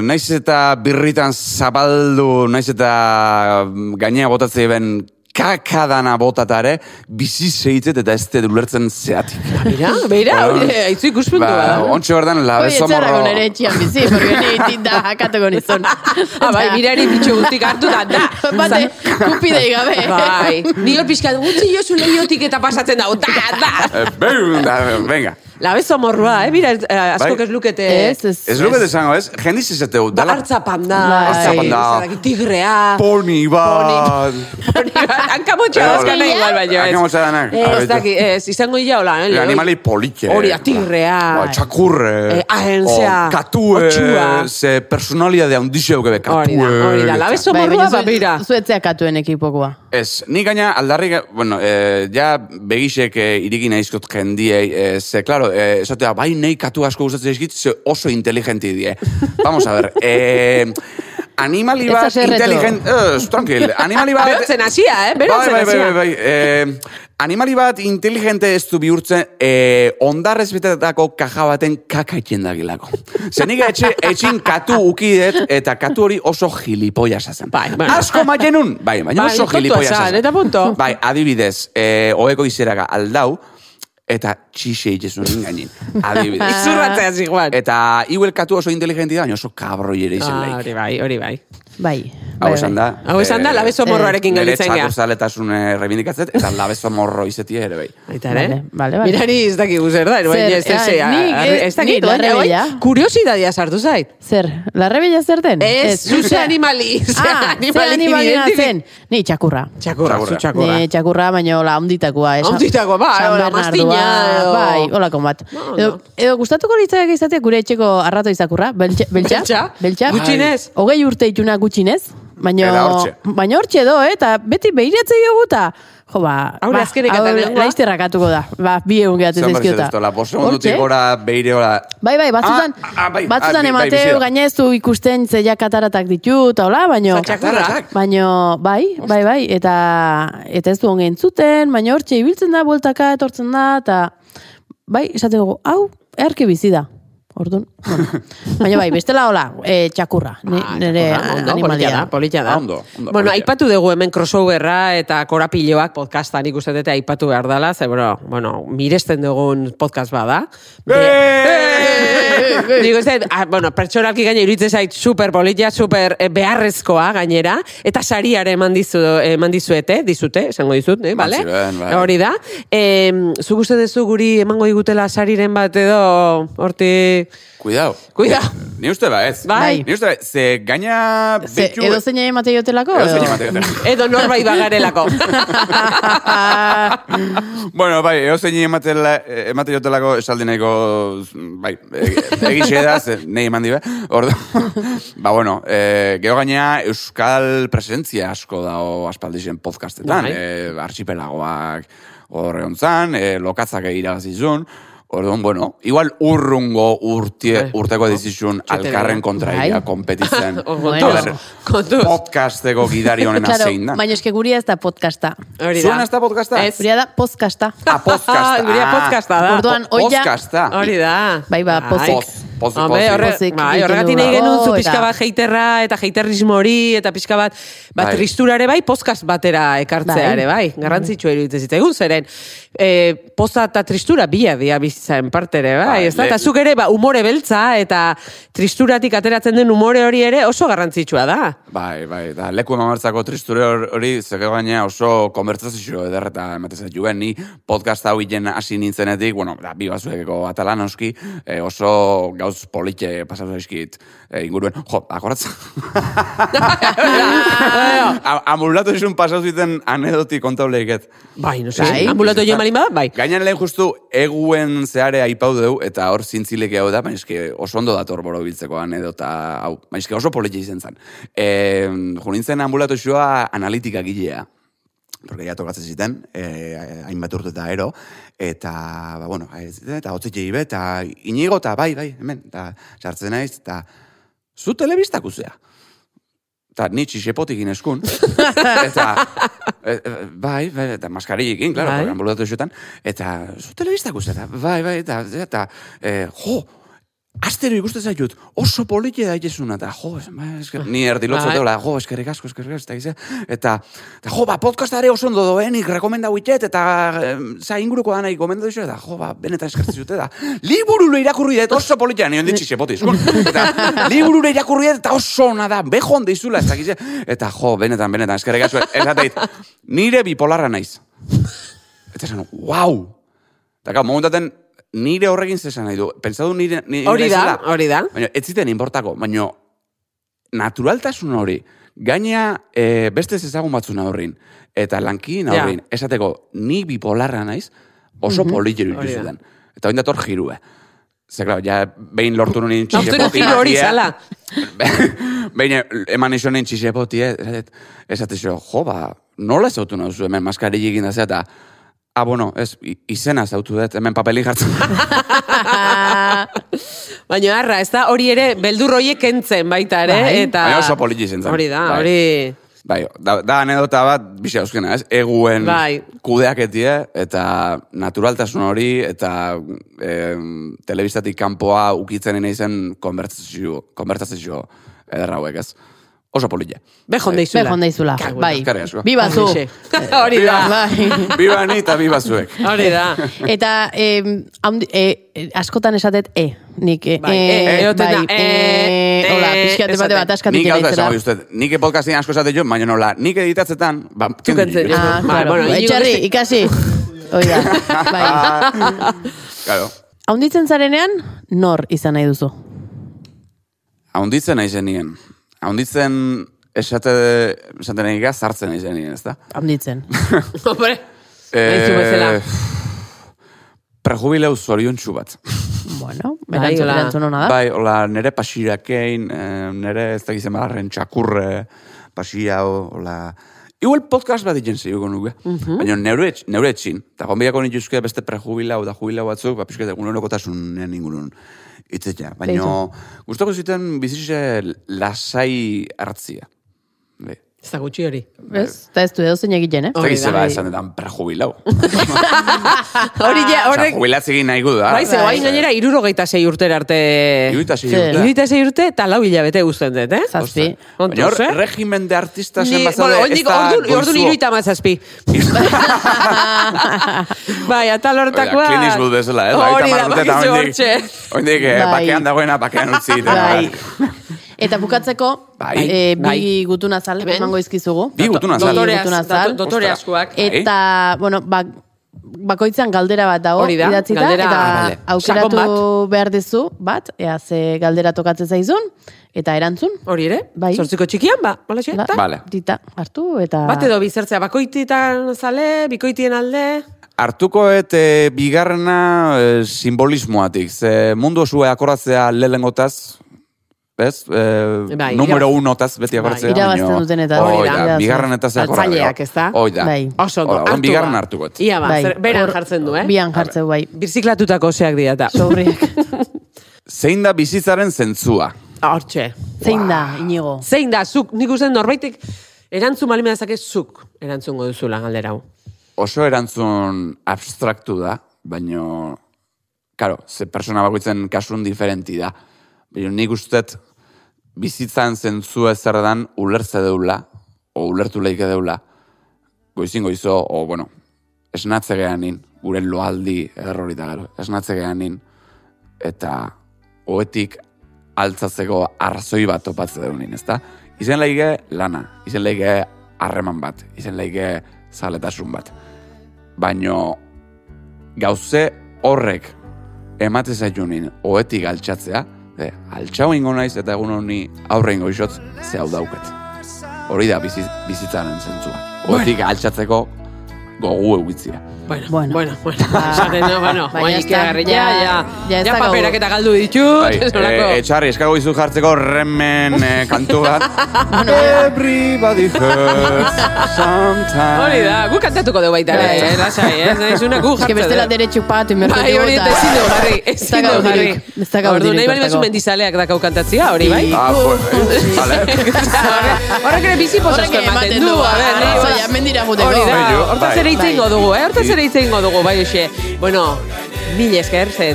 Speaker 3: naiz eta birritan zabaldu, naiz eta gainea botatzei ben kakadana botatare, bizi zeitzet eta ez dut ulertzen zeatik.
Speaker 2: Beira, beira, hori, eh,
Speaker 3: Ba,
Speaker 2: haitzu ikuspuntu
Speaker 3: ba,
Speaker 2: bada.
Speaker 3: Ontxe berdan
Speaker 1: Hoi
Speaker 3: labezo
Speaker 1: etxarrako
Speaker 3: morro...
Speaker 1: nire etxian bizi, porque ni tinta jakatuko nizun.
Speaker 2: Ah, bai, mirari bitxo guztik hartu da, da.
Speaker 1: Bate, kupidei gabe.
Speaker 2: Bai, nio pixka, gutxi jozu lehiotik eta pasatzen dago, da, da.
Speaker 3: Eh, bum, da, venga.
Speaker 2: Labezo morrua, eh, bira, eh, askok
Speaker 3: Bai.
Speaker 2: ez lukete...
Speaker 1: Ez, ez.
Speaker 3: Ez luket esango, ez? Jendiz ez dut,
Speaker 2: Ba,
Speaker 3: dala
Speaker 2: hartza panda,
Speaker 1: Bai.
Speaker 2: hartza panda, tigrea,
Speaker 3: poni ba, bat...
Speaker 2: hankamotxa dauzka nahi igual baino, ez.
Speaker 3: Hankamotxa danak.
Speaker 2: Ez daki, ez, izango ia hola, eh,
Speaker 3: Eh,
Speaker 2: lehoi-
Speaker 3: animali politxe.
Speaker 2: Hori da, tigrea.
Speaker 3: Ba, txakurre.
Speaker 2: Eh, ahentzea.
Speaker 3: O, katue.
Speaker 2: Otxua.
Speaker 3: Ze personalidade handixeu gebe.
Speaker 2: Hori da,
Speaker 3: Katue.
Speaker 2: hori da, labezo
Speaker 1: Bai,
Speaker 2: morrua, ba, bira.
Speaker 1: zuetzea katuen ekipokoa.
Speaker 3: Ez, ni gaina aldarrik, bueno, eh, ja begisek eh, iriki nahizkot jendiei, eh, ze, claro, eh, esatea, bai nei katu asko gustatzen zaizkit, ze oso inteligenti die. Vamos a ver, eh, animali
Speaker 1: Ez
Speaker 3: bat
Speaker 1: hasi erretu.
Speaker 3: inteligent... Ez, tranquil, animali bat...
Speaker 2: Berotzen hasia, eh,
Speaker 3: Bai,
Speaker 2: berotzen
Speaker 3: bai, bai,
Speaker 2: hasia.
Speaker 3: bai, bai. Eh, animali bat inteligente ez du bihurtzen eh, ondarrez betetako kaja baten kaka itxen dagilako. Zenik etxe, etxin katu ukidet eta katu hori oso gilipoia zen.
Speaker 2: Bai, bai.
Speaker 3: Asko matenun, bai, baina
Speaker 2: Bai,
Speaker 3: oso
Speaker 2: tontoa
Speaker 3: gilipoia
Speaker 2: zan, eta punto.
Speaker 3: Bai, adibidez, eh, oeko izeraga aldau, eta txixe itxezun gainin. Adibidez.
Speaker 2: Izurratzea ziguan.
Speaker 3: Eta iuel katu oso inteligenti da, baina oso kabroi ere izen
Speaker 2: Ah,
Speaker 3: leik.
Speaker 2: Hori bai, hori bai.
Speaker 1: Bai.
Speaker 3: Hau
Speaker 1: bai,
Speaker 3: esan
Speaker 1: bai.
Speaker 3: da.
Speaker 2: Hau esan da,
Speaker 3: eh,
Speaker 2: labezo
Speaker 1: eh,
Speaker 2: morroarekin
Speaker 3: Nire
Speaker 2: gelditzen
Speaker 3: txako
Speaker 2: gea.
Speaker 3: zaletasun eh, reivindikatzet, eta labezo morro izetia ere bai.
Speaker 2: Aita, ere?
Speaker 1: Vale, vale, vale.
Speaker 2: eh. Mirari ez dakigu zer da,
Speaker 1: Zer,
Speaker 2: baina ez da
Speaker 1: ai,
Speaker 2: zea.
Speaker 1: nik,
Speaker 2: arre-
Speaker 1: eh,
Speaker 2: Ez dakit,
Speaker 1: nik
Speaker 2: baina
Speaker 1: larre bila.
Speaker 2: hoi, kuriosidadia sartu zait.
Speaker 1: Zer, larre bella zer den?
Speaker 2: Ez, zu ze animali, ze
Speaker 1: Ah, ze
Speaker 2: animali
Speaker 1: animalina
Speaker 2: identifik-
Speaker 1: zen. Ni txakurra.
Speaker 2: Txakurra,
Speaker 3: Txakurra.
Speaker 2: zu txakurra.
Speaker 1: Ni txakurra, baina hola, onditakoa. Eh?
Speaker 2: Handitakoa, ba,
Speaker 1: San
Speaker 2: hola,
Speaker 1: Bernardoa,
Speaker 2: mastina edo-
Speaker 1: Bai, hola, konbat.
Speaker 2: Ba,
Speaker 1: Edo,
Speaker 2: ondo.
Speaker 1: edo gustatuko litzaiak izate gure etxeko arrato izakurra, beltxa, beltxa,
Speaker 2: Beltxa? Gutxienez?
Speaker 1: Bai. Hogei urte ituna gutxinez, baina
Speaker 3: Eta hortxe.
Speaker 1: baina hortxe do, eh, eta beti behiratzei dugu eta jo, ba,
Speaker 2: Aurre
Speaker 1: ba,
Speaker 2: azkenek eta
Speaker 1: aurre-
Speaker 2: lehengoa.
Speaker 1: laster rakatuko da, ba, bi egun gehatzen
Speaker 3: Zer berriz
Speaker 1: zaizkiota.
Speaker 3: ez dola, bost segundutik
Speaker 1: Hortxe.
Speaker 3: gora beire hola.
Speaker 2: Ba-
Speaker 1: Bai, bai, batzutan,
Speaker 3: Ah, ah, bai, ah,
Speaker 1: batzutan
Speaker 3: bi- bai, bizi
Speaker 1: emateu,
Speaker 3: da.
Speaker 1: gaina ez du ikusten zeia kataratak ditu, eta hola, baino,
Speaker 2: Txakurrak.
Speaker 1: baino, bai, bai, bai, eta, eta ez du onge entzuten, baina hortxe ibiltzen da, bueltaka etortzen da, eta, bai, esaten dugu, hau, erki bizi da. Orduan, bueno. baina bai, bestela hola, e, txakurra, ni,
Speaker 2: Ah,
Speaker 1: nire
Speaker 2: txakurra, ondo,
Speaker 1: animalia
Speaker 2: polita da.
Speaker 1: da.
Speaker 2: Polita da.
Speaker 3: Ondo, ondo,
Speaker 2: bueno,
Speaker 3: polita.
Speaker 2: aipatu dugu hemen crossoverra eta korapiloak podcastan ikusten dute aipatu behar dela, ze bro, bueno, miresten dugun podcast bada.
Speaker 3: Eee!
Speaker 2: Digo, ez da, ah, bueno, pertsonalki gaine iruditzen zait super politia, super eh, beharrezkoa gainera, eta sariare eman, dizu, eh, eman dizuete, dizute, esango dizut, eh,
Speaker 3: Eman
Speaker 2: bale?
Speaker 3: ziren, bai.
Speaker 2: Hori da. Eh, zuk uste duzu guri emango digutela sariren bat edo, horti...
Speaker 3: Cuidao.
Speaker 2: Cuidao.
Speaker 3: Ni uste ba ez.
Speaker 2: Bai.
Speaker 3: Ni uste ba, ze gaina
Speaker 1: Ze,
Speaker 3: betxu...
Speaker 1: edo zein emate jotelako?
Speaker 3: Edo zein
Speaker 1: edo?
Speaker 3: ematen dut.
Speaker 2: Edo norbait bagarelako.
Speaker 3: Bueno, bai, edo zein ematela, e, emate jotelako esaldi nahiko, bai, egixe da, ze nahi eman dibe. Ordu, ba, bueno, e, geho gaina euskal presentzia asko dago aspaldixen podcastetan.
Speaker 2: Bai.
Speaker 3: E, archipelagoak horreon zan, e, lokatzak iragazizun. Orduan, bueno, igual urrungo urtie,
Speaker 2: Bai.
Speaker 3: urteko dizizun
Speaker 2: Txotela.
Speaker 3: alkarren kontraia
Speaker 1: Bai.
Speaker 3: kompetitzen.
Speaker 2: Oh,
Speaker 1: Bueno.
Speaker 2: Kontuz, kontuz.
Speaker 3: Podcasteko gidari honena
Speaker 1: Claro,
Speaker 3: zein da.
Speaker 1: baina eske guria ez da podcasta.
Speaker 2: Hori da.
Speaker 3: Zuena ez da podcasta?
Speaker 2: Ez.
Speaker 1: Guria da podcasta.
Speaker 3: Ah, podcasta.
Speaker 2: Gurea podcasta da.
Speaker 1: Orduan,
Speaker 3: Po-
Speaker 1: oia-
Speaker 3: Podcasta.
Speaker 2: Hori da.
Speaker 1: Bai, ba, pozik.
Speaker 3: Poz, pozik,
Speaker 2: Hombre,
Speaker 3: pozik.
Speaker 2: horre-
Speaker 1: Pozik
Speaker 2: bai,
Speaker 1: egiten
Speaker 2: horregatik
Speaker 1: du,
Speaker 2: nahi genuen zu
Speaker 1: eta-
Speaker 2: pixka bat heiterra eta heiterrismo hori eta pixka bat bat
Speaker 3: Bai.
Speaker 2: tristurare bai podcast batera ekartzea
Speaker 1: Bai.
Speaker 2: ere bai. Garrantzitsua iruditzen zitzaigun zeren e, poza eta tristura bila dia bizitzaren parte ere bai.
Speaker 3: Bai,
Speaker 2: ez da?
Speaker 3: le-
Speaker 2: Eta zuk ere ba, umore beltza eta tristuratik ateratzen den umore hori ere oso garrantzitsua da.
Speaker 3: Bai, bai, da, leku emamartzako tristure hor- hori, zeke gaina oso konbertsazio ederra eta ematen zait juen, ni podcast hau hiten hasi nintzenetik, bueno, da, bi bazuekeko atalan oski, eh, oso gauz politxe pasatu eskit inguruen. Jo, akoratza. A- Amulatu izun pasatu ziten anedoti kontableiket.
Speaker 2: Bai, no sé,
Speaker 1: Bai.
Speaker 2: ambulatu joan balin bada, bai.
Speaker 3: Gainan lehen justu eguen zeare aipau dugu, eta hor zintzileke hau da, baina eske oso ondo dator boro biltzeko anedota, hau, baina eske oso politxe izen zen. E, junintzen ambulatoxua analitika gilea. Porque ja tokatzen ziten, eh, hainbat urte eta ero, eta, ba, bueno, ez, eta hotzit jibe, eta inigo, eta bai, bai, hemen, eta sartzen naiz, eta zu telebistak uzea. Eta ni txisepotik ineskun. eta, e, e, bai, bai, eta maskarikin, klaro,
Speaker 2: Bai.
Speaker 3: bai. ambulatu esutan. Eta, zu telebistak uste, eta, bai, bai, eta, eta e, jo, astero ikusten zaitut, oso politxe da jesuna, eta jo, es- ba, eske, ni erdi lotzo
Speaker 2: Bai.
Speaker 3: deola, jo, eskerrik asko, eskerrik asko, eta gizea, eta, eta jo, ba, podcastare oso ondo doenik, rekomenda huitet, eta, em, za, inguruko da nahi, komenda duzu, eta, jo, ba, benetan eskertzen zute, eta, liburule irakurri dut, oso politxe, ni hondi txisepotik, eta, liburule irakurri dut, eta oso ona da, beho ondo izula, eta gizea, eta, jo, benetan, benetan, eskerrik asko, esateit, nire bipolarra naiz. Eta esan, wow! Eta gau, momentaten, nire horrekin zesan nahi du. Pentsatu nire... nire
Speaker 2: Hori da,
Speaker 3: naizela.
Speaker 2: hori da.
Speaker 3: Baina, ez ziten inportako, baina naturaltasun hori, gaina e, beste ezagun batzuna horrin, eta lankin
Speaker 2: Ja. Mhm.
Speaker 3: horrin, esateko, ni bipolarra naiz, oso mm -hmm.
Speaker 2: Hori
Speaker 3: politxero
Speaker 2: da.
Speaker 3: ikusudan. Eta hori dator jirue. Ze, klaro, ja, behin lortu nuen eh.
Speaker 2: Lortu nuen jiru hori zala.
Speaker 3: Behin eman izan nien txisepoti, esatezio, jo, ba, nola ez autu nauzu hemen maskari egin da zea, eta, ah, bueno, ez, i- izena zautu dut, hemen papelin jartzen.
Speaker 1: Ah.
Speaker 2: Baina arra, ez da hori ere beldur horiek kentzen baita ere.
Speaker 1: Bai.
Speaker 2: Eta...
Speaker 3: Baina oso politi izan zen.
Speaker 2: Hori da,
Speaker 3: Bai.
Speaker 2: hori...
Speaker 3: bai, da, da anedota bat, bizi euskena, ez, eguen
Speaker 2: Bai.
Speaker 3: kudeaketie, eta naturaltasun hori, eta em, telebistatik kanpoa ukitzen nahi zen konbertsazio, konbertsazio ederra hauek, ez. Oso politia.
Speaker 2: Bejon deizula.
Speaker 1: Bejon daizula. Bai.
Speaker 3: eskerrik asko.
Speaker 1: Biba zu.
Speaker 2: Horixe. Hori da.
Speaker 1: Bai.
Speaker 3: Biba ni eta biba zuek.
Speaker 2: Hori da.
Speaker 1: Eta em, handi- e, e, askotan esatet e. Nik e.
Speaker 2: Bai, e,
Speaker 1: e,
Speaker 2: egoten da,
Speaker 1: bai,
Speaker 2: e,
Speaker 1: e, Hola,
Speaker 2: e,
Speaker 1: pixkiate bate
Speaker 2: esaten.
Speaker 1: bat askatik
Speaker 3: Nik hau da
Speaker 1: eraitzera.
Speaker 3: esango dizut, nik podcastin asko esate jo, baina nola, nik editatzetan, ba, kendu
Speaker 2: kentzen,
Speaker 3: ditut.
Speaker 1: Ah,
Speaker 2: Bai,
Speaker 1: claro.
Speaker 2: bueno, Iñigo
Speaker 1: Etxarri,
Speaker 2: beste-
Speaker 1: ikasi. Hoi da. Bai.
Speaker 2: Ah.
Speaker 3: Claro.
Speaker 1: Haunditzen zarenean, nor izan nahi duzu.
Speaker 3: Haunditzen naizen nien. Haunditzen esate, esaten egika zartzen naizen nien, ez da?
Speaker 1: Haunditzen.
Speaker 2: Hombre.
Speaker 3: Eh,
Speaker 2: Aizu bezala.
Speaker 3: Prejubileu zorion Eh, bat.
Speaker 1: Bueno,
Speaker 2: Bai,
Speaker 1: erantzun,
Speaker 2: hola.
Speaker 1: erantzun hona da.
Speaker 3: Bai, hola, nere pasirakein, eh, nere ez da gizema txakurre pasia, hola, Igual podcast bat egiten zeiko nuke.
Speaker 2: Mhm.
Speaker 3: Baina neure, etx- neure etxin. Eta gombiako nituzke beste prejubilau da jubilau batzuk, ba, pixket egunerokotasunean ingurun itzetea. Baina
Speaker 1: Beitu.
Speaker 3: gustoko zuten bizitze lasai hartzia. Be.
Speaker 2: Ez da gutxi hori.
Speaker 3: eh,
Speaker 1: Ez, eta ez du edo zein egiten, eh?
Speaker 2: Bai. Oh.
Speaker 3: Eta
Speaker 2: Hori
Speaker 3: gizu
Speaker 2: da,
Speaker 3: ba,
Speaker 2: bai.
Speaker 3: esan dedan prejubilau.
Speaker 2: Ah, Hori ja,
Speaker 3: Osa,
Speaker 2: horrek...
Speaker 3: jubilatzegin nahi gu da.
Speaker 2: Bai, ze,
Speaker 1: Bai.
Speaker 2: guain gainera, irurogeita sei urtera arte...
Speaker 3: Iruita
Speaker 1: Ze,
Speaker 3: sei
Speaker 2: Irurogeita sei urte eta lau hilabete guztien dut, eh?
Speaker 1: Zazpi.
Speaker 2: Kontuz,
Speaker 3: Baina hor,
Speaker 2: eh?
Speaker 3: regimen de artista
Speaker 2: Ni,
Speaker 3: zen bazaude,
Speaker 2: bueno,
Speaker 3: ez
Speaker 2: oindik,
Speaker 3: da
Speaker 2: ordun, ordun
Speaker 3: goizuo.
Speaker 2: iruita mazazpi. bai, atal hortakoa...
Speaker 3: Oida, Clint Eastwood bezala, eh? Hogeita
Speaker 2: Hori da,
Speaker 3: hamar urte eta
Speaker 2: bakizu
Speaker 3: oraindik-
Speaker 2: hortxe.
Speaker 3: oraindik, eh,
Speaker 1: Bai.
Speaker 3: bakean dagoena, bakean utzi. eta-
Speaker 1: Bai. Eta bukatzeko,
Speaker 3: Bai,
Speaker 1: eh, bi
Speaker 2: bai.
Speaker 1: gutun azal,
Speaker 2: Hemen.
Speaker 1: emango izkizugu.
Speaker 2: Bai,
Speaker 3: Bi gutun azal.
Speaker 1: Bi
Speaker 2: Dotoreaz-
Speaker 1: gutun azal.
Speaker 2: datu- Dotore
Speaker 3: Ostra.
Speaker 2: askoak.
Speaker 3: Bai.
Speaker 1: Eta, bueno, ba, bakoitzean galdera bat dago,
Speaker 2: Hori da,
Speaker 1: idatzita,
Speaker 2: galdera-
Speaker 1: eta
Speaker 2: Ah, bale.
Speaker 1: aukeratu
Speaker 2: Sakon
Speaker 1: behar dizu, bat, ea ze galdera tokatzen zaizun, eta erantzun,
Speaker 2: Hori ere?
Speaker 1: Bai.
Speaker 2: Zortziko txikian, ba, hola
Speaker 1: da,
Speaker 2: eta?
Speaker 3: Bale.
Speaker 1: dita, hartu, eta...
Speaker 2: Bat edo bizertzea, bakoititan zale, bikoitien alde...
Speaker 3: Artuko et eh, bigarrena eh, simbolismoatik. Ze mundu osua akoratzea lehenengotaz, ez? Eh,
Speaker 2: Bai,
Speaker 3: numero
Speaker 2: irabaz-
Speaker 3: unotaz beti akoratzea.
Speaker 1: Bai. Irabazten
Speaker 3: baino-
Speaker 1: dutenetaz.
Speaker 3: Hoi
Speaker 2: Hori
Speaker 3: da,
Speaker 1: da.
Speaker 3: bigarrenetaz akorra.
Speaker 2: Galtzaileak, ez da?
Speaker 3: Hoi da.
Speaker 1: Bai.
Speaker 2: Oso, ondo,
Speaker 3: Hoi da, orduan
Speaker 2: hartua.
Speaker 3: bigarren hartuko et.
Speaker 2: Ia ba,
Speaker 1: Bai.
Speaker 2: zer- beran
Speaker 1: Hor-
Speaker 2: jartzen du, eh?
Speaker 1: Bian jartzen du, bai.
Speaker 2: Birziklatutako zeak dira eta.
Speaker 1: Sobriak.
Speaker 3: Zein da bizitzaren zentzua?
Speaker 2: Hortxe.
Speaker 1: Zein da, inigo?
Speaker 2: Zein da, zuk, nik uste dut norbaitek erantzun balime dezake zuk erantzungo duzula galdera hau.
Speaker 3: Oso erantzun abstraktu da, baino... Karo, ze persona bakoitzen kasun diferenti da. Baina nik ustet bizitzan zentzua zer dan ulertze deula, o ulertu leike deula, goizin goizo, o, bueno, esnatze geanin, gure loaldi errori da gero, esnatze geanin, eta oetik altzatzeko arrazoi bat topatze deunin, ezta? Izen laige lana, izen laige harreman bat, izen laige zaletasun bat. Baino gauze horrek emate zaitunin oetik altxatzea, e, altxau ingo naiz eta egun honi aurre ingo izotz, ze hau dauket. Hori da bizi, bizitzaren zentzua. Oetik altxatzeko gogu egitzia.
Speaker 2: Bueno,
Speaker 1: Bueno.
Speaker 2: bueno, bueno. bueno. Esaten du, bueno,
Speaker 1: Baina
Speaker 2: baina
Speaker 1: ez da,
Speaker 2: ikiagarri, ja,
Speaker 1: ja,
Speaker 2: ja.
Speaker 1: ja
Speaker 2: Ja,
Speaker 1: ez da gau.
Speaker 2: paperak eta galdu ditut.
Speaker 3: Bai,
Speaker 2: ez nolako.
Speaker 3: eh, etxarri, eskago izu jartzeko remen eh, kantu bat. Everybody hurts sometimes.
Speaker 2: Hori da, gu kantatuko dugu baita ere,
Speaker 1: Bai.
Speaker 2: eh, lasai, eh, ez naizuna gu
Speaker 1: Eske
Speaker 2: jartzen.
Speaker 1: bestela
Speaker 2: dugu.
Speaker 1: dere txupatu, inbertu
Speaker 2: eh? Bai, hori eta ezin dugu jarri, ezin dugu jarri.
Speaker 1: Ez da gaudirik.
Speaker 2: Ordu, nahi bali batzu mendizaleak dakau kantatzia, hori, bai?
Speaker 3: Ah, pues, vale.
Speaker 2: Horrek- Horrek ere bizi
Speaker 1: Horrek
Speaker 2: posasko ematen du, a ber, nahi-
Speaker 1: arrazoia, mendira juteko.
Speaker 2: Hori da,
Speaker 3: Bai, jo,
Speaker 2: hortaz
Speaker 3: bai.
Speaker 2: ere hitz
Speaker 1: Bai.
Speaker 2: egingo dugu, eh? Hortaz ere hitz egingo dugu, bai, hoxe. Bueno, mil esker, ze,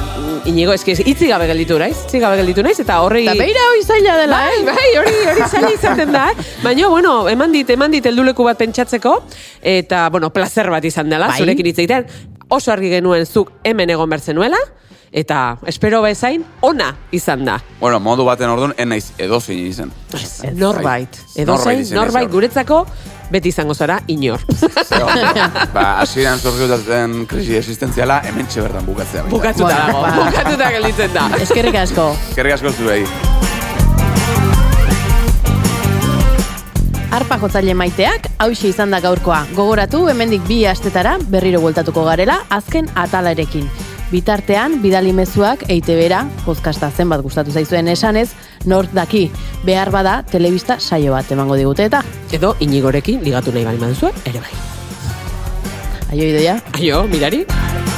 Speaker 2: inigo, eski, itzi gabe gelditu naiz, itzi gabe gelditu naiz, eta horri...
Speaker 1: Eta beira hori zaila dela,
Speaker 2: Bai,
Speaker 1: eh?
Speaker 2: bai, hori, hori zaila izaten da, eh? Baina, bueno, eman dit, eman dit helduleku bat pentsatzeko, eta, bueno, placer bat izan dela,
Speaker 1: Bai.
Speaker 2: zurekin hitz egiten. Oso argi genuen zuk hemen egon bertzenuela, eta espero bezain, ona izan da.
Speaker 3: Bueno, modu baten orduan, en naiz edozein izan.
Speaker 2: Norbait.
Speaker 3: Bai.
Speaker 2: Edo zein,
Speaker 3: izan
Speaker 2: norbait
Speaker 3: ez,
Speaker 2: guretzako, beti izango zara inor.
Speaker 3: Zeo, ba, asiran sorgiutatzen krisi existentziala, hemen bertan bukatzea. baita.
Speaker 2: Bukatuta dago,
Speaker 1: Bueno, ba.
Speaker 2: bukatuta gelditzen da.
Speaker 1: Eskerrik asko.
Speaker 3: Eskerrik asko zuei.
Speaker 1: Arpa jotzaile maiteak, hauxe izan da gaurkoa. Gogoratu, hemendik bi astetara berriro bueltatuko garela, azken atalarekin. Bitartean, bidali mezuak EITB-ra, podcasta zenbat gustatu zaizuen esanez, nort daki, behar bada, telebista saio bat emango digute eta.
Speaker 2: Edo inigorekin ligatu nahi bali maduzu, ere bai.
Speaker 1: Aio ideia.
Speaker 2: Aio, mirari.